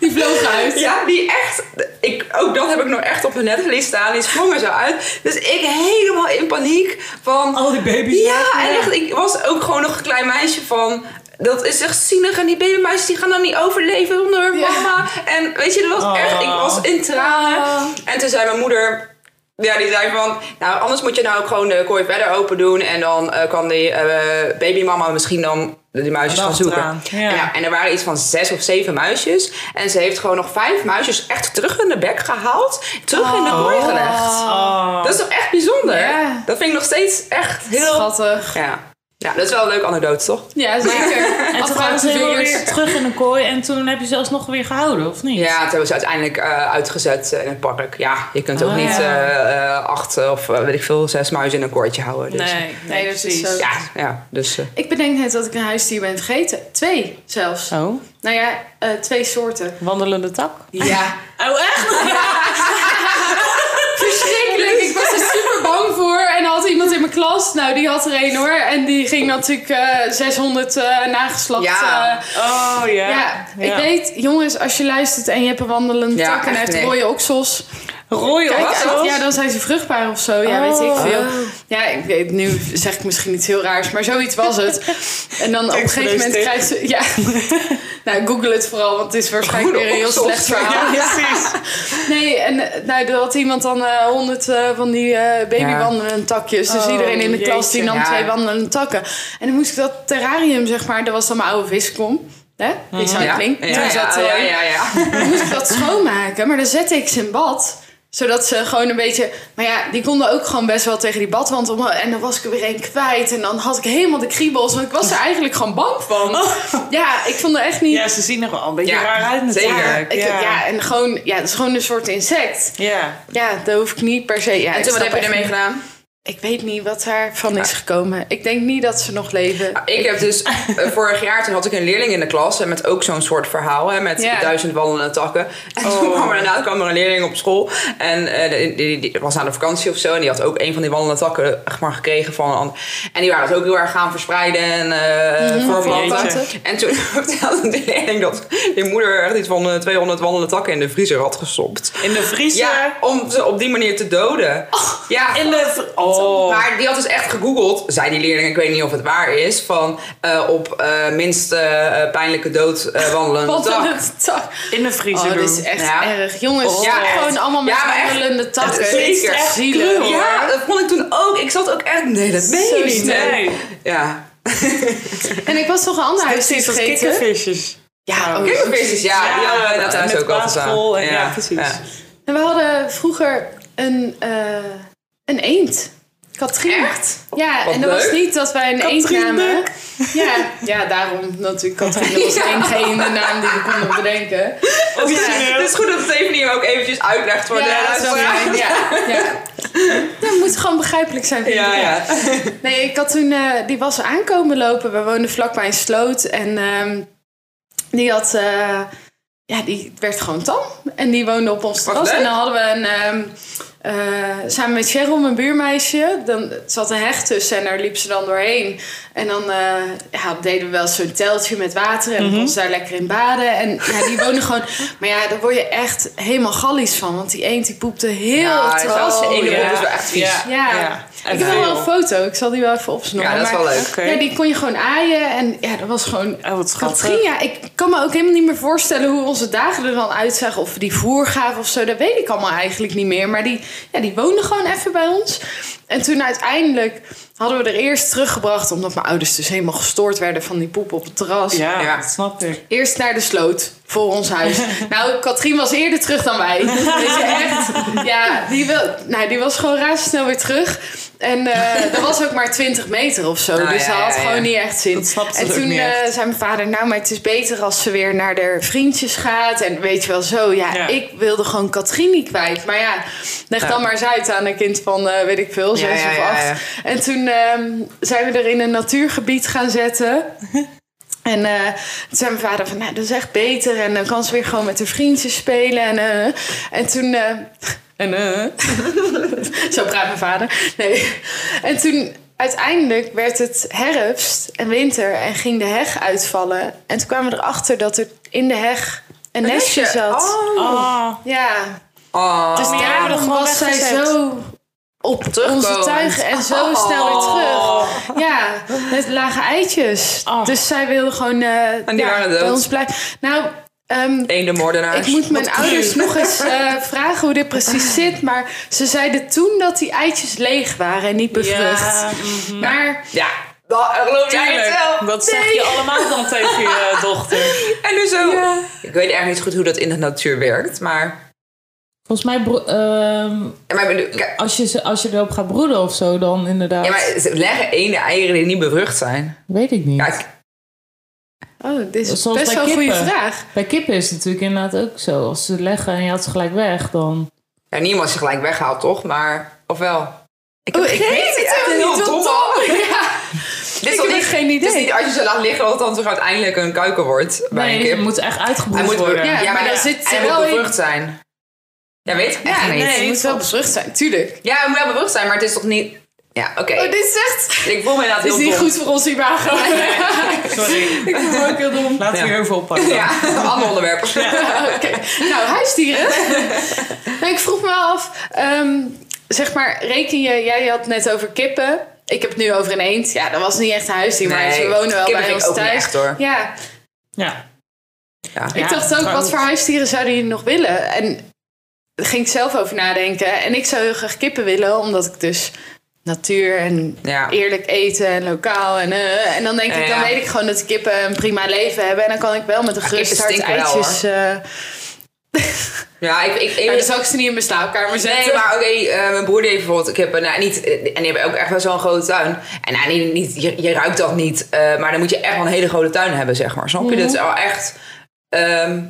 Die vlogen uit.
Ja, die echt. Ik, ook dat heb ik nog echt op mijn netvlies staan. Die sprong er zo uit. Dus ik helemaal in paniek van.
Al die baby's.
ja, en echt, ik was ook gewoon nog een klein meisje van. Dat is echt zielig en die babymeisjes die gaan dan niet overleven zonder hun
Ja.
mama. En weet je, dat was
Ah.
echt, ik was in tranen.
Ah.
En toen zei mijn moeder, ja, die zei van, nou anders moet je nou ook gewoon de kooi verder open doen. En dan eh, kan die eh, babymama misschien dan die muisjes
Dan
gaan zoeken.
achteraan, ja.
En, nou, en er waren iets van zes of zeven muisjes. En ze heeft gewoon nog vijf muisjes echt terug in de bek gehaald. Terug in de kooi gelegd. Dat is toch echt bijzonder?
Ja.
Dat vind ik nog steeds echt heel...
Schattig.
Ja. ja, dat is wel een leuke anekdote, toch?
Ja, zeker.
En toen
Afgehouden
kwamen ze helemaal
vingers.
weer terug in de kooi. En toen heb je zelfs nog weer gehouden, of niet?
Ja, toen hebben ze uiteindelijk eh, uitgezet eh, in het park. Ja, je kunt ook
Ah,
niet
ja.
eh, eh, acht of eh, weet ik veel, zes muizen in een koordje houden. Dus.
Nee, nee,
Nee, dat is
precies.
zo.
Ja, ja, dus... eh,
Ik bedenk net dat ik een huisdier ben vergeten. Twee zelfs.
Zo,
Nou ja, eh, twee soorten.
Oh, wandelende tak.
ja.
Oh, echt?
Verschrikkelijk. Ik was er super bang voor. En er had iemand in mijn klas, nou die had er één hoor. En die ging natuurlijk eh 600 eh, nageslacht.
Ja.
eh,
Oh, ja.
ja. ik weet, jongens, als je luistert en je hebt een wandelende
Ja,
tak en
echt,
hij heeft
nee.
rode oksels.
Rooie
Kijk,
Wat?
uit, ja, dan zijn ze vruchtbaar of zo. Ja, weet ik veel. Ja, ik weet, nu zeg ik misschien iets heel raars, maar zoiets was het. En dan op een
voor
gegeven
deze
moment
tip.
krijgt ze. Ja, nou, google het vooral, want het is waarschijnlijk
Goede
weer een heel
oksels.
slecht verhaal.
Ja, precies.
Nee, en eh, nou, er had iemand dan honderd van die eh babywandelende takjes. Dus
Oh,
iedereen in de
jeetje.
klas die nam
Ja.
twee wandelende takken. En dan moest ik dat terrarium, zeg maar, dat was dan mijn oude viskom. Hè? Recycling.
Mhm. Ja,
Toen zat
ja,
er-
ja, ja, ja.
dan moest ik dat schoonmaken, maar dan zette ik ze in bad. Zodat ze gewoon een beetje... Maar ja, die konden ook gewoon best wel tegen die badwand om. En dan was ik er weer één kwijt. En dan had ik helemaal de kriebels. Want ik was er eigenlijk gewoon bang van.
Oh.
Ja, ik vond het echt niet...
Ja, ze zien er wel een beetje
Ja,
raar uit
zeker.
natuurlijk.
Ik,
ja.
ja, en gewoon... Ja, het is gewoon een soort insect.
Ja.
Ja, daar hoef ik niet per se... Ja,
En
ik
toen, wat
snap
heb je
echt
ermee
niet-
gedaan?
Ik weet niet wat daarvan is gekomen. Ik denk niet dat ze nog leven.
Nou, Ik heb dus eh, vorig jaar, toen had ik een leerling in de klas en met ook zo'n soort verhaal, hè, met
Ja.
duizend wandelende takken. En toen kwam er inderdaad kwam er een leerling op school en eh, die, die- die was aan de vakantie of zo en die had ook een van die wandelende takken echt maar gekregen van een ander. En die waren dat ook heel erg gaan verspreiden en eh voorplanten.
jeetje.
En toen vertelde de leerling dat die moeder echt iets van eh, 200 wandelende takken in de vriezer had gestopt.
In de vriezer.
Ja, om ze op die manier te doden. ja.
In de... vri- Oh.
Maar die had dus echt gegoogeld, zei die leerling, ik weet niet of het waar is, van eh, op eh, minst eh, eh, pijnlijke dood eh, wandelende
Wat
dag.
een tak.
In de vriezer
Oh,
doen.
dit is echt
Ja.
erg. Jongens,
Oh.
stop
Ja, echt.
gewoon allemaal met
Ja, maar echt.
wandelende takken.
Het is
Dit
zeker.
echt zielig.
Echt cruel.
Ja, dat vond ik toen ook. Ik zat ook echt, nee, dat ben
Zo
je niet.
snel.
hè.
Nee.
Ja.
En ik was nog een ander huisdier
Precies, als
vergeten.
kikkervisjes. Nou,
Ja, oh.
Kikkervisjes, ja, die hadden we daar thuis
met
ook altijd
basisschool
aan.
en- ja, precies.
En we hadden vroeger een, eh, een eend. Katrien.
Echt?
Ja,
Wat
en dat
leuk.
was niet dat wij een eend
Katrien
namen.
Buk.
Ja, ja, daarom natuurlijk Katrien. Dat was geen geen naam die we konden bedenken.
Dat is- Het is Dus- goed dat Stephanie hem ook eventjes uitlegt voor de
ja, dat is wel
luisteraar.
fijn. Ja, ja. Ja, het moet gewoon begrijpelijk zijn voor
Ja,
iedereen.
ja.
Nee, ik had toen, eh, die was aankomen lopen. We woonden vlakbij een sloot en ehm, die had, eh, ja, die werd gewoon tam. En die woonde op ons terras.
leuk.
En dan hadden we een, ehm, eh, samen met Cheryl, mijn buurmeisje, dan zat een heg tussen en daar liep ze dan doorheen. En dan eh, ja, deden we wel zo'n teltje met water en
Mhm.
dan kon ze daar lekker in baden. En ja, die woonde gewoon, maar ja, daar word je echt helemaal gallies van, want die eend die poepte heel
Ja,
het
het
terras
was-
in.
ene
ja.
boek is wel echt vies.
Ja.
Ja.
Ja.
Ik heb wel
Veel.
een foto, ik zal die wel even opsnoren.
Ja, dat is
maar-
wel leuk.
Oké.
ja, die kon je gewoon aaien. En ja, dat was gewoon...
Oh, wat schattig.
Katrien, ja, ik kan me ook helemaal niet meer voorstellen hoe onze dagen er dan uitzagen. Of we die voer gaven of zo, dat weet ik allemaal eigenlijk niet meer. Maar die, ja, die woonde gewoon even bij ons. En toen uiteindelijk Hadden we er eerst teruggebracht, omdat mijn ouders dus helemaal gestoord werden van die poep op het terras.
Ja,
Ja.
dat snap ik.
Eerst naar de sloot voor ons huis. nou, Katrien was eerder terug dan wij. Weet je echt? Ja, die, wil, nou, die was gewoon razendsnel weer terug. En eh, dat was ook maar 20 meter of zo.
Nou,
dus
ja,
dat had
ja, ja.
gewoon niet echt zin.
Dat snapte
en
ze ook
toen
niet
eh,
echt.
zei mijn vader: Nou, maar het is beter als ze weer naar haar vriendjes gaat. En weet je wel zo. Ja,
Ja.
ik wilde gewoon Katrien niet kwijt. Maar ja, leg dan maar eens uit aan een kind van eh, weet ik veel,
Ja,
zes
ja,
of
ja,
acht. En toen ehm, zijn we er in een natuurgebied gaan zetten. En eh, toen zei mijn vader van, nou, dat is echt beter. En dan kan ze weer gewoon met haar vriendjes spelen. En, eh, en toen... eh, en eh, Zo praat mijn vader. Nee. En toen uiteindelijk werd het herfst en winter en ging de heg uitvallen. En toen kwamen we erachter dat er in de heg een, nestje, zat.
Oh.
Ah,
Ja.
Oh.
Dus
maar jij hebt hem
daarom
gewoon
was zij
weggezet.
zo op onze
Terugkomend.
tuigen en zo snel weer terug. Ja, met lage eitjes.
Ah.
Dus zij wilde gewoon eh,
die
ja,
waren dood.
bij ons blijven. Nou, ehm, ik
Eendemoordenaars.
moet mijn ouders nog eens eh, vragen hoe dit precies zit. Maar ze zeiden toen dat die eitjes leeg waren en niet bevrucht.
ja, mhm.
Maar
Ja, dat geloof jij het wel.
Tuurlijk, dat zeg je allemaal dan tegen je dochter.
En dus zo. Ik weet erg niet goed hoe dat in de natuur werkt, maar...
Volgens mij, bro- ehm,
Ja, maar, ik bedoel, kijk,
als, je, ze- als je erop gaat broeden of zo, dan inderdaad.
ja, maar ze leggen ene eieren die niet bevrucht zijn.
Weet ik niet.
Kijk,
oh, dit is
Zoals
best
bij
wel een goede
kippen.
vraag.
Bij kippen is het natuurlijk inderdaad ook zo. Als ze leggen en je had ze gelijk weg, dan...
ja, niemand is gelijk weggehaald, toch? Maar, ofwel... Ik,
Oh, ik weet het
echt
ook
heel
niet, wat
dom.
dom. Ja.
Dit is
Ik
toch
heb
niet,
echt geen
dit is
idee.
niet als je ze laat liggen, dat dan toch uiteindelijk een kuiken wordt bij
nee,
een kip.
het moet echt
Hij
uitgebroed
moet
worden.
Ja, maar dan zit ze
hij
wel
moet
in-
bevrucht zijn. Ja, weet ik echt
Ja,
niet.
nee, het
Nee,
moet wel bezorgd zijn, tuurlijk.
Ja, hij moet wel bevrucht zijn, maar het is toch niet... Ja, oké.
Oh, dit is echt...
Ik voel me inderdaad
Dit
heel
is niet
dom.
goed voor ons imago.
Sorry,
Ik voel me ook heel dom.
laten we
Ja.
hierover oppakken.
Ja, een ander onderwerp.
Oké, nou, huisdieren. Nou, ik vroeg me af, ehm, zeg maar, reken je, jij had het net over kippen. Ik heb het nu over een eend. Ja, dat was niet echt een huisdier, maar
Nee,
ze wonen wel
kippen
bij
vind
ons
ik ook niet
thuis.
echt, hoor.
Ja,
Ja.
Ja.
ik dacht ook, wat voor huisdieren zouden jullie nog willen? En daar ging ik zelf over nadenken. En ik zou heel graag kippen willen, omdat ik dus natuur en
Ja.
eerlijk eten en lokaal. En, eh, en dan denk ik,
Ja,
dan
ja.
weet ik gewoon dat die kippen een prima leven hebben. En dan kan ik wel met een gerust
kippen
hart
stinken wel,
eitjes... eh,
Ja, ik... ik, ik
Maar dan zou ik ze niet in mijn slaapkamer zetten.
Nee, maar oké, eh, mijn broer die heeft bijvoorbeeld kippen. Nou, niet, eh, en die hebben ook echt wel zo'n grote tuin. En nou, niet, niet, je, je ruikt dat niet. eh, maar dan moet je echt wel een hele grote tuin hebben, zeg maar. Snap je? Dat is wel echt ehm,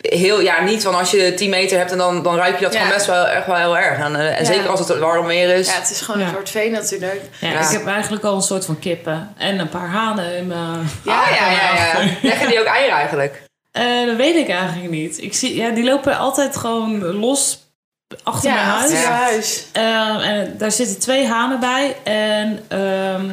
heel... Ja, niet van als je 10 meter hebt en dan, dan ruik je dat
Ja.
gewoon best wel, echt wel heel erg. En, eh, en
Ja.
zeker als het warm weer is.
Ja, het is gewoon
Ja.
een soort vee natuurlijk.
Ja,
Ja.
Ik heb eigenlijk al een soort van kippen. En een paar hanen in mijn...
Oh, Ja, ja, ja, ja. Leggen die ook eieren eigenlijk?
Eh, dat weet ik eigenlijk niet. Ik zie, ja, die lopen altijd gewoon los achter mijn huis.
achter je
Ja.
huis.
Ehm, en daar zitten twee hanen bij. En ehm,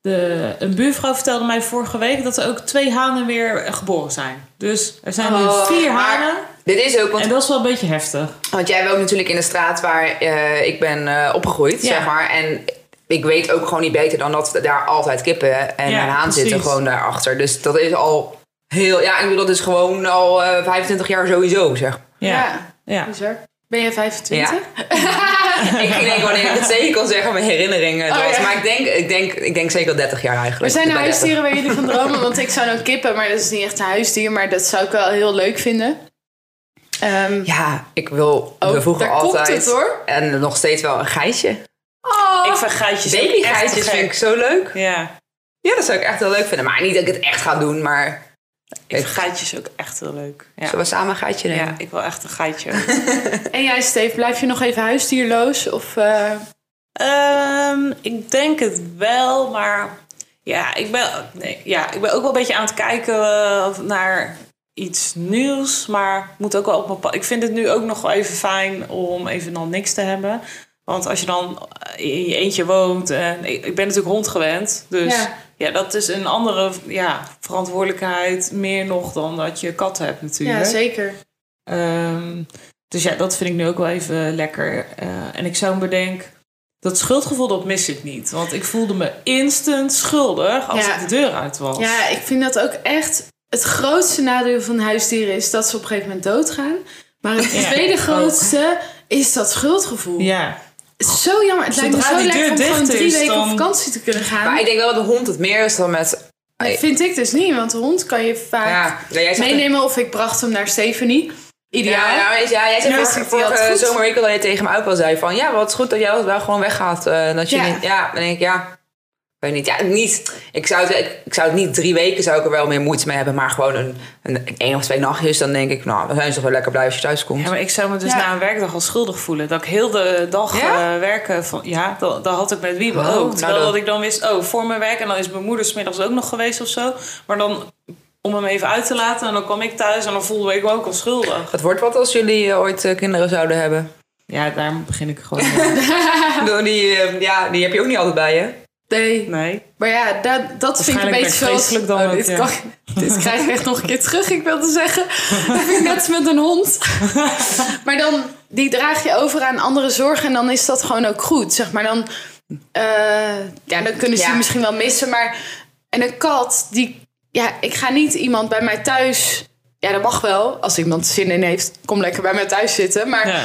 de, een buurvrouw vertelde mij vorige week dat er ook twee hanen weer geboren zijn. Dus er zijn nu
Oh,
vier
maar-
hanen.
Dit is ook, want
En dat is wel een beetje heftig.
Want jij woont natuurlijk in de straat waar eh, ik ben eh, opgegroeid,
Ja.
zeg maar. En ik weet ook gewoon niet beter dan dat daar altijd kippen en
Ja,
een haan zitten
precies.
gewoon daarachter. Dus dat is al heel... Ja, ik bedoel, dat is gewoon al eh, 25 jaar sowieso, zeg.
Ja. ja.
bizar. Ben je 25?
ik ging denken wanneer ik het zeker kon zeggen, mijn herinneringen.
Oh,
dat was.
ja.
Maar ik denk, ik, denk, ik denk zeker al 30 jaar eigenlijk.
Er zijn
Ik
er
ben 30.
huisdieren waar jullie van dromen. Want ik zou dan kippen, maar dat is niet echt een huisdier. Maar dat zou ik wel heel leuk vinden. Ehm,
Ja, ik wil
Oh,
we vroeger
daar komt
altijd...
het, hoor.
En nog steeds wel een geitje.
oh,
Ik vind geitjes ook echt te
Babygeitjes
gek.
vind ik zo leuk.
Ja,
Ja, dat zou ik echt heel leuk vinden. Maar niet dat ik het echt ga doen, maar...
ik vind geitjes ook echt heel leuk. Ja.
Zullen we samen een geitje nemen?
Ja, ik wil echt een geitje.
En jij, Steve, blijf je nog even huisdierloos? Of, eh,
Ehm, ik denk het wel, maar ja ik, ben, nee, ja, ik ben ook wel een beetje aan het kijken eh, naar iets nieuws. Maar moet ook wel op mijn pa- Ik vind het nu ook nog wel even fijn om even dan niks te hebben. Want als je dan eh, in je eentje woont en ik, ik ben natuurlijk hond gewend. Dus
Ja.
ja, dat is een andere ja, verantwoordelijkheid. Meer nog dan dat je kat hebt natuurlijk.
ja, zeker.
Ehm, dus ja, dat vind ik nu ook wel even lekker. Eh, en ik zou me bedenken, dat schuldgevoel dat mis ik niet. Want ik voelde me instant schuldig als
Ja.
ik de deur uit was.
Ja, ik vind dat ook echt... Het grootste nadeel van huisdieren is dat ze op een gegeven moment doodgaan. Maar het
Ja,
tweede
ook.
grootste is dat schuldgevoel.
Ja.
Het is zo jammer. Het lijkt me
Zodra
zo
die
lekker
deur
om gewoon
dicht
drie
is,
weken op
dan-
vakantie te kunnen gaan.
Maar ik denk wel dat de hond het meer is dan met...
Dat vind ik dus niet, want de hond kan je vaak
Ja, nou, jij zegt
meenemen. Of ik bracht hem naar Stephanie. Ideaal.
Ja, nou, weet je, ja, jij zei
Nou,
vorige,
is het- ja, het
vorige
goed.
zomer ik al dat je tegen me ook wel zei van... Ja, wat goed dat jij wel gewoon weggaat. eh, dat je
Ja.
niet... Ja, dan denk ik, ja... Ik weet niet, ja, niet. Ik zou, het, ik, ik zou het niet drie weken zou ik er wel meer moeite mee hebben, maar gewoon een, een, één of twee nachtjes, dan denk ik, nou, dan zijn ze toch wel lekker blij als je thuis komt.
Ja, maar ik zou me dus
Ja.
na een werkdag al schuldig voelen. Dat ik heel de dag
Ja?
eh, werken van... Ja, dat, dat had ik met Wiebe
Oh,
ook.
nou
Terwijl
dan-
dat ik dan wist, oh, voor mijn werk. En dan is mijn moeder 's middags ook nog geweest of zo. Maar dan om hem even uit te laten. En dan kwam ik thuis en dan voelde ik me ook al schuldig.
Het wordt wat als jullie eh, ooit eh, kinderen zouden hebben.
Ja, daar begin ik gewoon mee.
Ik bedoel, Die, eh, ja, die heb je ook niet altijd bij je.
Nee.
Nee.
Maar ja, dat, dat vind ik
Waarschijnlijk
een beetje
ben ik
zoals... Oh,
geestelijk dan ook,
dit,
ja.
kan- dit krijg ik echt nog een keer terug, ik wilde zeggen. Dat vind ik net als met een hond. Maar dan, die draag je over aan andere zorgen en dan is dat gewoon ook goed. Zeg maar dan, eh, ja, dan kunnen ze
Ja.
je misschien wel missen. Maar, en een kat, die, ja, ik ga niet iemand bij mij thuis... Ja, dat mag wel. Als iemand zin in heeft, kom lekker bij mij thuis zitten. Maar
Ja.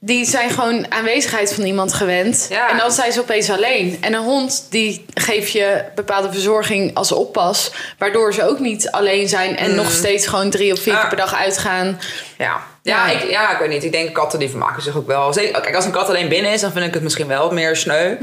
die zijn gewoon aanwezigheid van iemand gewend.
Ja.
En dan zijn ze opeens alleen. En een hond, die geef je bepaalde verzorging als oppas. Waardoor ze ook niet alleen zijn en nog steeds gewoon drie of vier
Ja.
keer per dag uitgaan.
Mm. Ah. Ja. Ja,
Ja.
Ik, ja, ik weet niet. Ik denk katten die vermaken zich ook wel. Zeker, kijk, als een kat alleen binnen is, dan vind ik het misschien wel meer sneu.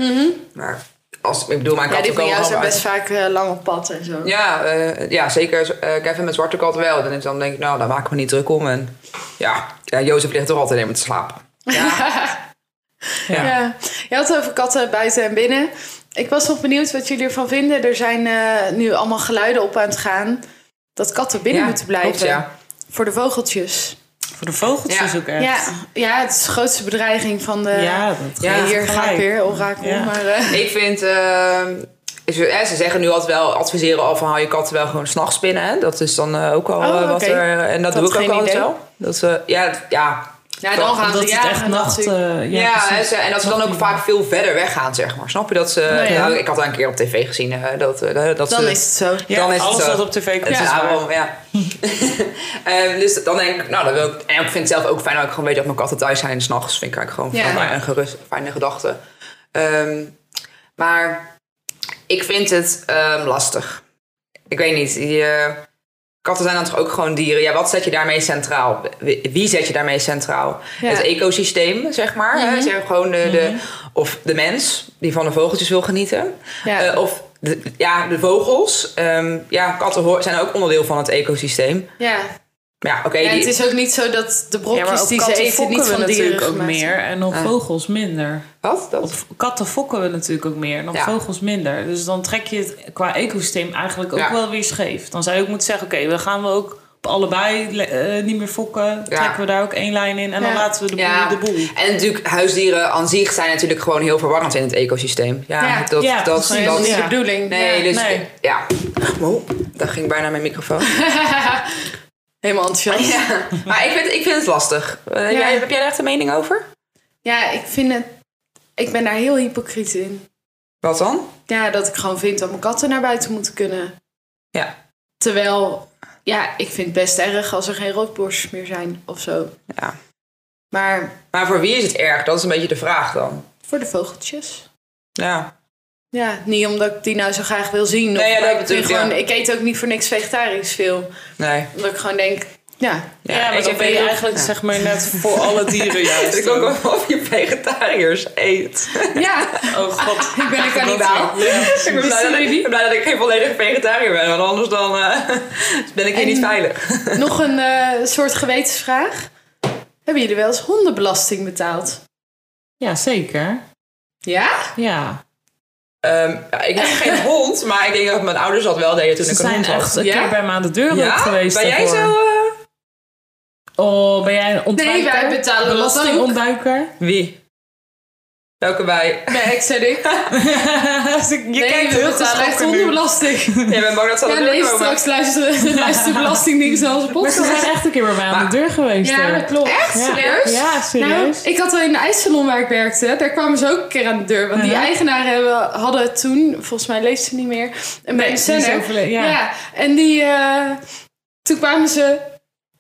Maar als, ik bedoel, mijn
Mhm. Ja,
katten
die van
komen
jou
gewoon
zijn
uit.
best vaak eh, lang op pad en zo.
Ja, eh, ja zeker. eh Kevin met zwarte kat wel. Dan, dan denk ik, nou, daar maak ik me niet druk om. En ja, ja Jozef ligt toch altijd helemaal te slapen.
Ja. Je had het over katten buiten en binnen. Ik was nog benieuwd wat jullie ervan vinden. Er zijn eh, nu allemaal geluiden op aan het gaan. Dat katten binnen
Ja,
moeten blijven.
klopt, ja.
Voor de vogeltjes.
Voor de vogeltjes
Ja.
ook echt.
Ja, ja, het is de grootste bedreiging van de...
Ja, dat
Ja,
geeft
Eh, hier ga ik
gelijk.
weer, orakel.
Ja.
Maar, eh,
Ik vind... eh, ze, eh, ze zeggen nu altijd wel, adviseren al van hou je katten wel gewoon s'nachts binnen. Hè? Dat is dan eh, ook al
Oh,
eh, wat
oké.
er... En dat,
had
doe ik ook
geen
altijd
idee.
wel. Dat ze, ja, ja,
ja, dan gaan
Omdat
ze
het echt
jagen.
nacht...
natuurlijk.
eh,
Ja,
ja, precies.
en, ze- en dat ze dan ook vaak veel verder weggaan, zeg maar. Snap je dat ze...
ja.
nou, ik had al een keer op tv gezien eh, dat, eh, dat ze...
Dan is het zo.
Ja,
dan is het
alles
zo.
wat op tv komt
Het
is
is
waar.
waarom, ja. Ehm, dus dan denk ik, nou, dat wil ik... En ik vind het zelf ook fijn dat ik gewoon weet dat mijn katten thuis zijn. S'nachts vind ik eigenlijk gewoon
Ja.
fijn, een gerust, fijne gedachte. Ehm, maar ik vind het ehm, lastig. Ik weet niet, die... eh, Katten zijn dan toch ook gewoon dieren. Ja, wat zet je daarmee centraal? Wie wie zet je daarmee centraal?
Ja. Mhm.
Het ecosysteem, zeg maar. hè? Zeg maar gewoon de, de, of de mens die van de vogeltjes wil genieten.
Ja.
Eh, of de, ja, de vogels. Ehm, ja, katten hoor- zijn ook onderdeel van het ecosysteem.
Ja.
Maar ja, oké.
ja,
die-
het is ook niet zo dat de
Ja, maar
brokjes
op
die ze
katten
eten
fokken
niet
we
van dieren
natuurlijk ook
gemaakt
meer.
zijn.
En op vogels minder.
Wat? Dat?
Op katten fokken we natuurlijk ook meer. En op
Ja.
vogels minder. Dus dan trek je het qua ecosysteem eigenlijk ook
Ja.
wel weer scheef. Dan zou je ook moeten zeggen... Oké, dan gaan we ook op allebei le- eh, niet meer fokken. Trekken we daar ook één lijn in. En dan
Ja.
laten we de boel
ja.
de boel.
En natuurlijk, huisdieren aan zich zijn natuurlijk gewoon heel verwarrend in het ecosysteem. Ja,
Ja.
dat,
Ja,
dat,
dat is
dat-
Dat is niet
Ja.
de bedoeling.
Nee,
Ja.
dus
nee.
ja. Oh, dat ging bijna mijn microfoon.
Helemaal enthousiast. Ja.
Ja, maar ik vind, ik vind het lastig. Eh,
Ja.
jij, heb jij daar echt een mening over?
ik vind het... Ik ben daar heel hypocriet in.
Wat dan?
Ja, dat ik gewoon vind dat mijn katten naar buiten moeten kunnen.
Ja.
Terwijl, ja, ik vind het best erg als er geen roodborstjes meer zijn of zo.
Ja.
Maar
Maar voor wie is het erg? Dat is een beetje de vraag dan.
voor de vogeltjes...
Ja.
Ja, niet omdat ik die nou zo graag wil zien. of-
Nee, ja, dat
maar ik,
bedoel
vind
ik, ja.
gewoon, ik eet ook niet voor niks vegetarisch veel.
Nee.
Omdat ik gewoon denk, ja,
Ja, maar
ik
dan
heb
ben je
heel-
eigenlijk
Ja.
zeg maar net voor alle dieren juist.
Ik ook wel of je vegetariërs eet.
ja,
Oh god.
ik ben een kannibaal.
Ik ben blij, dat ik, ik ben blij dat ik geen volledige vegetariër ben, want anders dan eh, ben ik hier
En-
niet veilig.
Nog een eh, soort gewetensvraag. Hebben jullie wel eens hondenbelasting betaald?
Ja, zeker.
Ja?
Ja.
Ehm, ja, ik heb geen hond, maar ik denk dat mijn ouders dat wel deden toen
Ze
ik een
zijn
hond had.
echt een
Ja?
keer bij me aan de deur ook
ja?
geweest.
ben jij
daarvoor.
zo... eh,
Oh, ben jij een ontduiker?
Nee, wij betalen dat
Belastingontduiker?
wie? Welke wij?
Nee, ik zei ik.
Als Dus ik- je
Nee,
kijkt
we
heel
betalen echt
geschrokken nu.
hondenbelasting.
Jij bent bang dat ze aan
Ja,
de deur
nee,
komen?
straks luisteren, luisteren belastingdienst naar onze
Maar ze
podcast.
zijn echt een keer bij mij aan de deur geweest.
Ja,
hè.
dat klopt. Echt?
Ja.
Serieus?
Ja,
Nou,
serieus.
ik had al in de ijssalon waar ik werkte, daar kwamen ze ook een keer aan de deur. Want die eigenaren hebben, hadden toen, volgens mij leeft ze niet meer, een
Nee, die is
BNC'er.
overleden, ja.
en die, eh, toen kwamen ze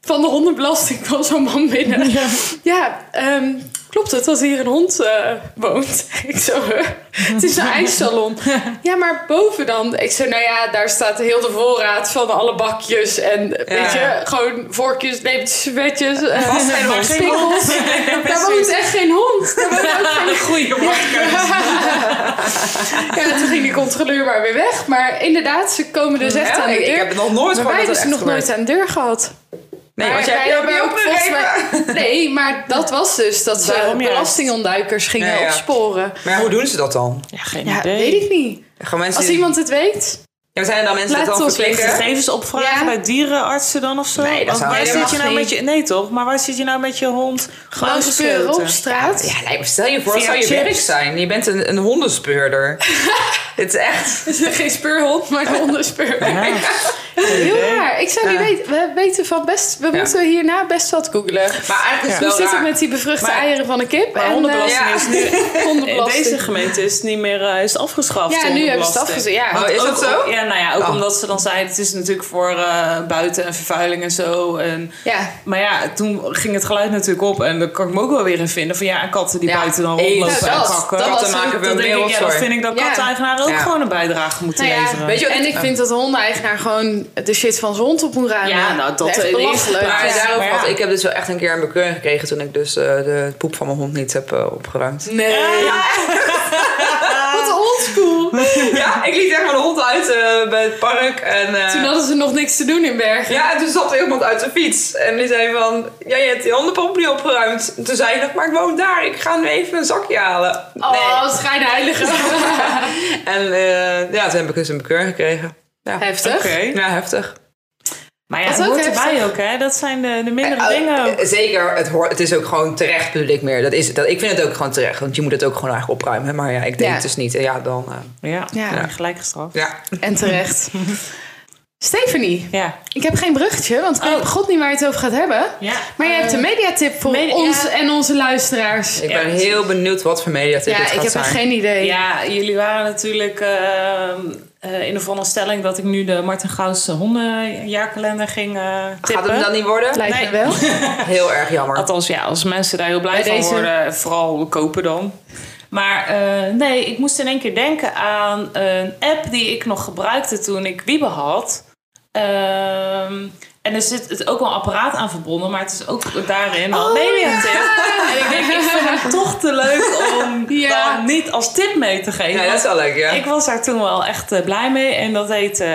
van de hondenbelasting, kwam zo'n man binnen. Ja, ehm, klopt het dat hier een hond eh, woont? ik zo, huh? het is een ijssalon. ja, maar boven dan? Ik zo, nou ja, daar staat heel de voorraad van alle bakjes. En eh, weet je, gewoon vorkjes, neemt zwetjes. eh,
helemaal geen
spikkels. daar woont echt geen hond. Daar woont ook geen
Goeie
ja, toen ging die controleur maar weer weg. Maar inderdaad, ze komen dus echt
Mm, Ja,
aan de
ik,
deur.
ik heb het nog nooit
maar wij
gehoord dat
hebben
dat
dus
echt
nog
gebeurt.
nooit aan de deur gehad.
Nee, want jij
wij
hebt
hebben
je ook
ook volgens mij- Nee, maar dat was dus dat ze
Daarom juist.
belastingontduikers gingen
Ja, ja.
opsporen.
Maar hoe doen ze dat dan?
Ja, geen
Ja,
idee.
weet ik niet.
Gaan mensen...
Als iemand het weet.
Ja, zijn er dan mensen die
Laat
dat dan
ons weten.
verplichten?
Gegevens opvragen
Ja.
bij dierenartsen dan of zo?
Nee, dat
Of
zou-
waar
dat
zit
mag
je nou
niet.
met je... Nee toch? Maar waar zit je nou met je hond? Gewoon
Gewoon speuren op
gesloten.
straat.
Ja, nee, maar stel je voor, het
Via
zou je
chips.
werk zijn. Je bent een, een hondenspeurder. het is echt...
Het is Geen speurhond, maar een hondenspeurhond. Heel raar. Ik zou niet weten. We weten van best. We
Ja.
moeten hierna best wat googelen.
Maar eigenlijk is
Hoe
het
zit
wel
het
raar.
met die bevruchte
Maar-
eieren van een kip?
Maar hondenbelasting
ja.
is nu...
eh,
In
hondenbelasting.
deze gemeente is het niet meer eh, is het afgeschaft.
Ja, nu hebben ze
hondenbelasting.
het afgezien. Ja.
Oh, is
Ook
dat zo?
om- Ja, nou ja, ook
Oh.
omdat ze dan zeiden... het is natuurlijk voor eh, buiten en vervuiling en zo. En,
ja.
maar ja, toen ging het geluid natuurlijk op. En daar kan ik me ook wel weer in vinden. Van ja, katten die
Ja,
buiten dan
eens.
rondlopen
Nou,
en
dat-
kakken.
dat was
Katten
een-
maken we
Dan denk ik, ja, dat vind ik dat
Ja.
katteneigenaren ook
Ja.
gewoon een bijdrage moeten
Nou ja,
leveren.
weet je, en ik vind dat de hondeneigenaar gewoon de shit van zijn hond op moet ruimen.
Ja, nou, dat
echt
weet ik.
belachelijk.
Maar
Ja.
daarover
Maar ja.
had- ik heb dus wel echt een keer een bekeuring gekregen toen ik dus eh, de poep van mijn hond niet heb eh, opgeruimd.
Nee. Wat oldschool.
Ja, ik liet echt mijn hond uit eh, bij het park en... eh,
Toen hadden ze nog niks te doen in Bergen.
Ja, en toen stapte iemand uit de fiets. En die zei van, ja, je hebt die hondenpomp niet opgeruimd. En toen zei ik nog, maar ik woon daar. Ik ga nu even een zakje halen.
Oh, schijnheilige.
En eh, ja, toen heb ik dus een bekeuring gekregen. Ja.
Heftig.
Oké.
Ja, heftig.
Maar ja,
Dat
het
ook
hoort
heftig.
erbij ook, hè? Dat zijn de, de mindere
Eh,
dingen. ook.
eh, Zeker, het, hoort, het is ook gewoon terecht publiek meer. Dat is, dat, ik vind het ook gewoon terecht, want je moet het ook gewoon eigenlijk opruimen. Maar ja, ik deed
Ja.
het dus niet. En ja, dan... eh,
Ja,
Ja.
ja. gelijk gestraft.
ja.
En terecht. Stephanie,
Ja.
ik heb geen bruggetje, want ik weet
Oh.
god niet waar je het over gaat hebben.
ja.
Maar je hebt een mediatip voor
media-
ons en onze luisteraars.
Ik ben
Echt.
heel benieuwd wat voor media dit
Ja,
gaat
ik heb
zijn.
echt geen idee.
Ja, jullie waren natuurlijk eh, eh, in de veronderstelling dat ik nu de Martin Gauss hondenjaarkalender ging eh
Gaat
tippen.
het hem dan niet worden?
Lijkt
Nee.
me wel.
Heel erg jammer.
Althans, ja, als mensen daar heel blij
Bij
van
deze.
worden, vooral kopen dan. Maar eh, nee, ik moest in één keer denken aan een app die ik nog gebruikte toen ik Wiebe had. Ehm, en er zit het ook wel een apparaat aan verbonden, maar het is ook daarin al nee, weer een tip. En ik denk, ik vind het toch te leuk om
Ja.
dan niet als tip mee te geven.
Ja, dat is wel leuk, ja.
Ik was daar toen wel echt eh, blij mee. En dat heet eh,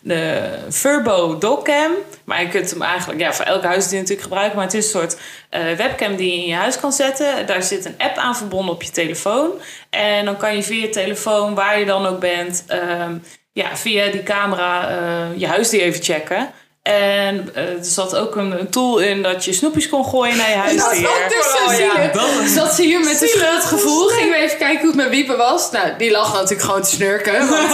de Furbo Dogcam. Maar je kunt hem eigenlijk ja, voor elk huisdier natuurlijk gebruiken. Maar het is een soort eh, webcam die je in je huis kan zetten. Daar zit een app aan verbonden op je telefoon. En dan kan je via je telefoon, waar je dan ook bent... ehm, ja, via die camera eh, je huisdier even checken. En eh, er zat ook een, een tool in dat je snoepjes kon gooien naar je
Dat
huisdier.
is ook dus zo
Oh, ja.
zielig. Zat ze hier met een
Zielig.
schuldgevoel. Gingen we even kijken hoe het met Wiepen was. Nou, die lag natuurlijk gewoon te snurken. Want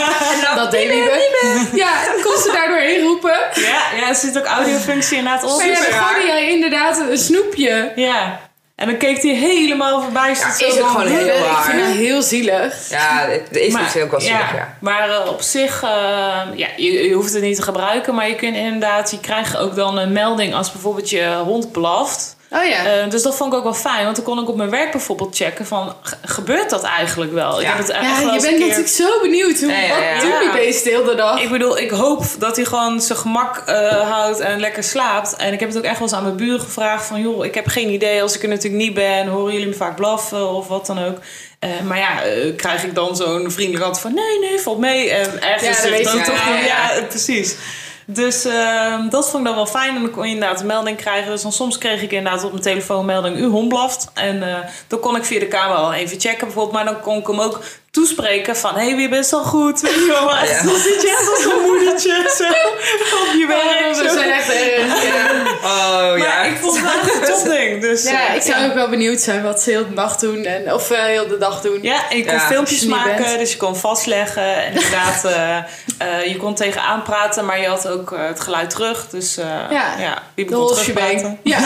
dat deed Wiepen. Ja, en kon ze daardoor heen roepen.
Ja, ja, er zit ook audiofunctie inderdaad op.
Maar ja, dan gooide jij inderdaad een snoepje.
Ja. En dan keek hij helemaal verbijsterd.
Ja,
zo
is ook
van,
gewoon heel
"Huh?"
raar.
Oh, Ik vind het heel zielig.
Ja, het is misschien ook wel zielig, ja.
Maar eh, op zich, eh, ja, je, je hoeft het niet te gebruiken. Maar je kunt inderdaad, je krijgt ook dan een melding als bijvoorbeeld je hond blaft.
Oh ja.
Eh, dus dat vond ik ook wel fijn. Want dan kon ik op mijn werk bijvoorbeeld checken van, ge- gebeurt dat eigenlijk wel? Ik
Ja.
heb het echt
Ja,
wel
je
eens
bent
een keer-
natuurlijk zo benieuwd. Hoe,
Ja, ja, ja.
Wat doen die
Ja.
beesten de hele dag?
Ik bedoel, ik hoop dat hij gewoon zijn gemak eh, houdt en lekker slaapt. En ik heb het ook echt wel eens aan mijn buren gevraagd van... joh, ik heb geen idee als ik er natuurlijk niet ben. Horen jullie me vaak blaffen of wat dan ook? Eh, maar ja, eh, krijg ik dan zo'n vriendelijk antwoord van... nee, nee, valt mee. En
Ja, dat
ergens
weet
zegt dan
je,
toch...
ja,
Ja,
ja.
eh, precies. Dus ehm, dat vond ik dan wel fijn. En dan kon je inderdaad een melding krijgen. Dus dan soms kreeg ik inderdaad op mijn telefoon een melding... uw hond blaft. En eh, dan kon ik via de camera al even checken bijvoorbeeld. Maar dan kon ik hem ook toespreken van... hé, hey, wie bent al goed? Weet je wel, maar
Ja.
dan zit je echt als een moedertje zo op je werk.
Oh, we
Zo.
zijn echt erg. Ja.
Oh, ja.
Maar ik vond het echt een topding. Dus,
Ja,
eh,
ik zou ook wel benieuwd zijn wat ze heel de nacht doen. En, of eh, heel de dag doen.
Ja, en je kon
Ja,
filmpjes
als je niet
maken,
bent.
dus je kon vastleggen. En inderdaad, eh, eh, je kon tegenaan praten, maar je had ook eh, het geluid terug. Dus eh,
Ja.
ja. wie
De
begon
holsje
terugpraten?
Ja.
De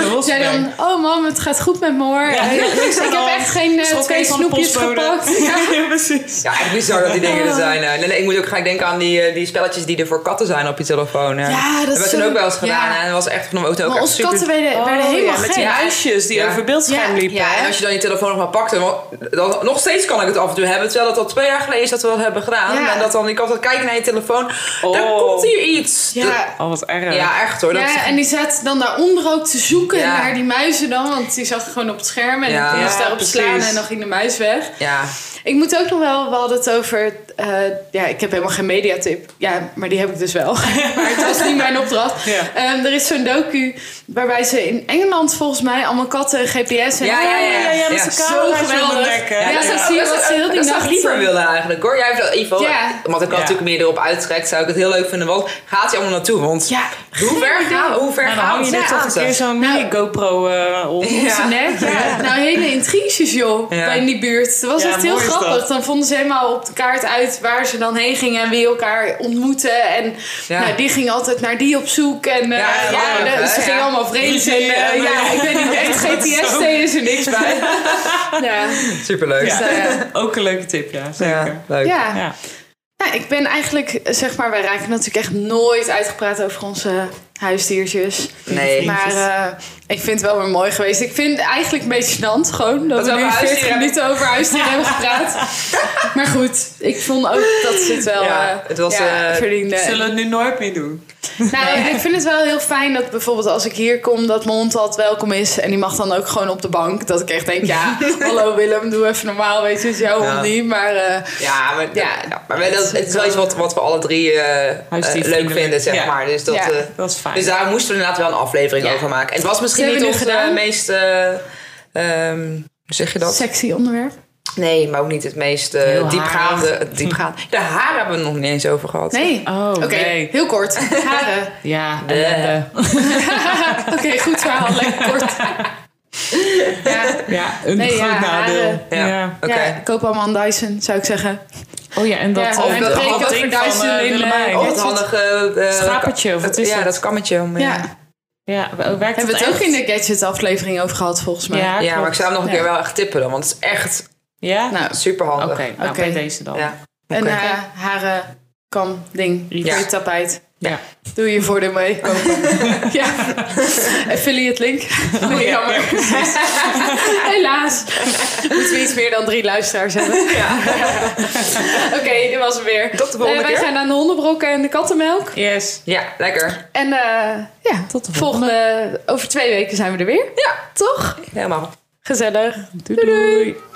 Zij
holsjebeen.
dan, oh mam, het gaat goed met me hoor.
Ja,
ik
niks aan de
heb
hand.
echt geen eh,
Schrok
twee
even van de
snoepjes
postbode.
gepakt. Ja.
Ja, precies.
Ja, echt bizar dat die dingen er zijn. eh. Nee, nee, ik moet ook gelijk denken aan die, eh, die spelletjes die er voor katten zijn op je telefoon. eh.
Ja, dat
hebben
is
we toen
zo-
ook wel eens gedaan.
ja.
hè. En dat was echt van ook
Maar
echt
onze
super...
katten werden, werden
Oh,
helemaal
ja, met
gek.
die muisjes die
Ja.
over beeldscherm
Ja.
liepen.
Ja, en als je dan je telefoon nog maar pakt, dan, dan- nog steeds kan ik het af en toe hebben. Terwijl dat al twee jaar geleden is dat we dat hebben gedaan.
Ja.
En dat dan, ik altijd kijken naar je telefoon. Daar
Oh.
komt hier iets.
Ja.
Oh, wat erg.
Dat- ja, echt hoor. Dat
ja, en die zat dan daaronder ook te zoeken
Ja.
naar die muizen dan. Want die zag gewoon op het scherm en
Ja.
dan kon je
Ja,
daarop
precies.
slaan en dan ging de muis weg.
ja.
Ik moet ook nog wel, we hadden het over... eh, ja, ik heb helemaal geen mediatip. Ja, maar die heb ik dus wel. maar het was niet mijn opdracht.
Ja.
Ehm, er is zo'n docu waarbij ze in Engeland volgens mij allemaal katten GPS en...
Ja, ja, ja.
ja, ja, met
Ja.
zijn camera's
Zo
aan het
geweldig.
ontdekken.
Ja,
Ja,
zo
ja.
zie je wat ze heel die
dat zou
nacht-
ik liever willen eigenlijk hoor. Jij hebt dat even
Ja.
Want ik kan
Ja.
natuurlijk meer erop uittrekt. Zou ik het heel leuk vinden. Want gaat hij allemaal naartoe? Want
Ja,
hoe ver gaan Hoe ver
En nou, dan
gaan
hang
we?
je er toch een keer zo'n
Nou.
mini-GoPro eh op.
Ja.
zijn nek. Ja. Nou, hele intriges, joh,
Ja.
bij in die buurt. Dat was
Ja,
echt heel
mooi is
grappig.
dat.
Dan vonden ze helemaal op de kaart uit waar ze dan heen gingen en wie elkaar ontmoetten. En
Ja.
nou, die ging altijd naar die op zoek. En
Ja,
eh, ja,
grappig,
de-
hè?
ze gingen
Ja.
allemaal vreemd. En, eh,
Ja,
ja,
maar-
ik weet niet, echt gts is er niks bij. ja,
Superleuk.
dus,
Ja.
eh,
Ook een leuke tip, ja, zeker.
leuk.
ja.
Ja.
Ja, ik ben eigenlijk, zeg maar, wij raken natuurlijk echt nooit uitgepraat over onze huisdiertjes.
Nee.
Maar eh, ik vind het wel weer mooi geweest. Ik vind het eigenlijk een beetje gênant gewoon. Dat,
Dat we
we nu
over
40
huisdieren
minuten over huisdieren hebben gepraat. Maar goed, ik vond ook dat ze het wel
Ja,
eh,
het was,
ja,
eh,
verdiende.
Zullen we het nu nooit meer doen?
Nou, ik vind het wel heel fijn dat bijvoorbeeld als ik hier kom... dat mijn hond altijd welkom is. En die mag dan ook gewoon op de bank. Dat ik echt denk, ja, hallo Willem, doe even normaal. Weet je, het is jouw
Ja.
hond niet. Maar eh,
Ja, maar,
Ja.
ja, maar wij- dat, het is wel iets wat, wat we alle drie eh, eh, leuk
Huisdiervriendelijk.
vinden, zeg
Ja.
maar. Dus, dat,
Ja.
eh,
Dat is fijn.
dus daar moesten we inderdaad wel een aflevering
Ja.
over maken. En het was misschien
Dat
niet
hebben we
onze
nu gedaan.
meest... eh, ehm, hoe zeg je dat?
sexy onderwerp.
Nee, maar ook niet het meest eh,
Heel
diepgaande. het diepgaande. De haar hebben we nog niet eens over gehad.
Nee.
Oh,
Oké,
nee.
heel kort. Haren.
Ja,
Eh.
ellende.
Oké, goed verhaal. Lekker kort. Ja.
ja een
Nee,
groot
ja,
nadeel.
haren.
Ja, oké.
Ja, koop allemaal een Dyson, zou ik zeggen.
Oh ja, en dat,
Ja,
eh,
of
en
dat
dat,
breekt
dat
over
ding van
Dyson
eh,
in, eh,
Willemijn.
Oh, dat handige... eh,
Schapertje, of wat is
ja,
dat?
dat kammetje. Om, eh,
Ja.
Ja, we- werkt
Hebben we
dat
het ook
echt?
in de gadget-aflevering over gehad, volgens mij.
Ja,
ja, maar ik
klopt.
zou hem nog een
Ja.
keer wel echt tippen dan. Want het is echt
Ja?
Nou,
superhandig.
Oké, nou
Oké.
bij deze dan.
Ja.
een
Oké.
eh, haren kam ding
Ja.
voor je tapijt.
Ja.
Doe je voordeel mee. Kopen. ja. Affiliate link. Oh, jammer. Helaas. Moeten we iets meer dan drie luisteraars hebben. Oké, dit was hem weer.
Tot de volgende
Eh, wij
keer.
gaan aan de hondenbrokken en de kattenmelk.
Yes.
Ja, lekker.
En eh, ja,
Tot de
volgende. Over twee weken zijn we er weer.
Ja.
Toch?
Helemaal.
Gezellig.
Doei doei.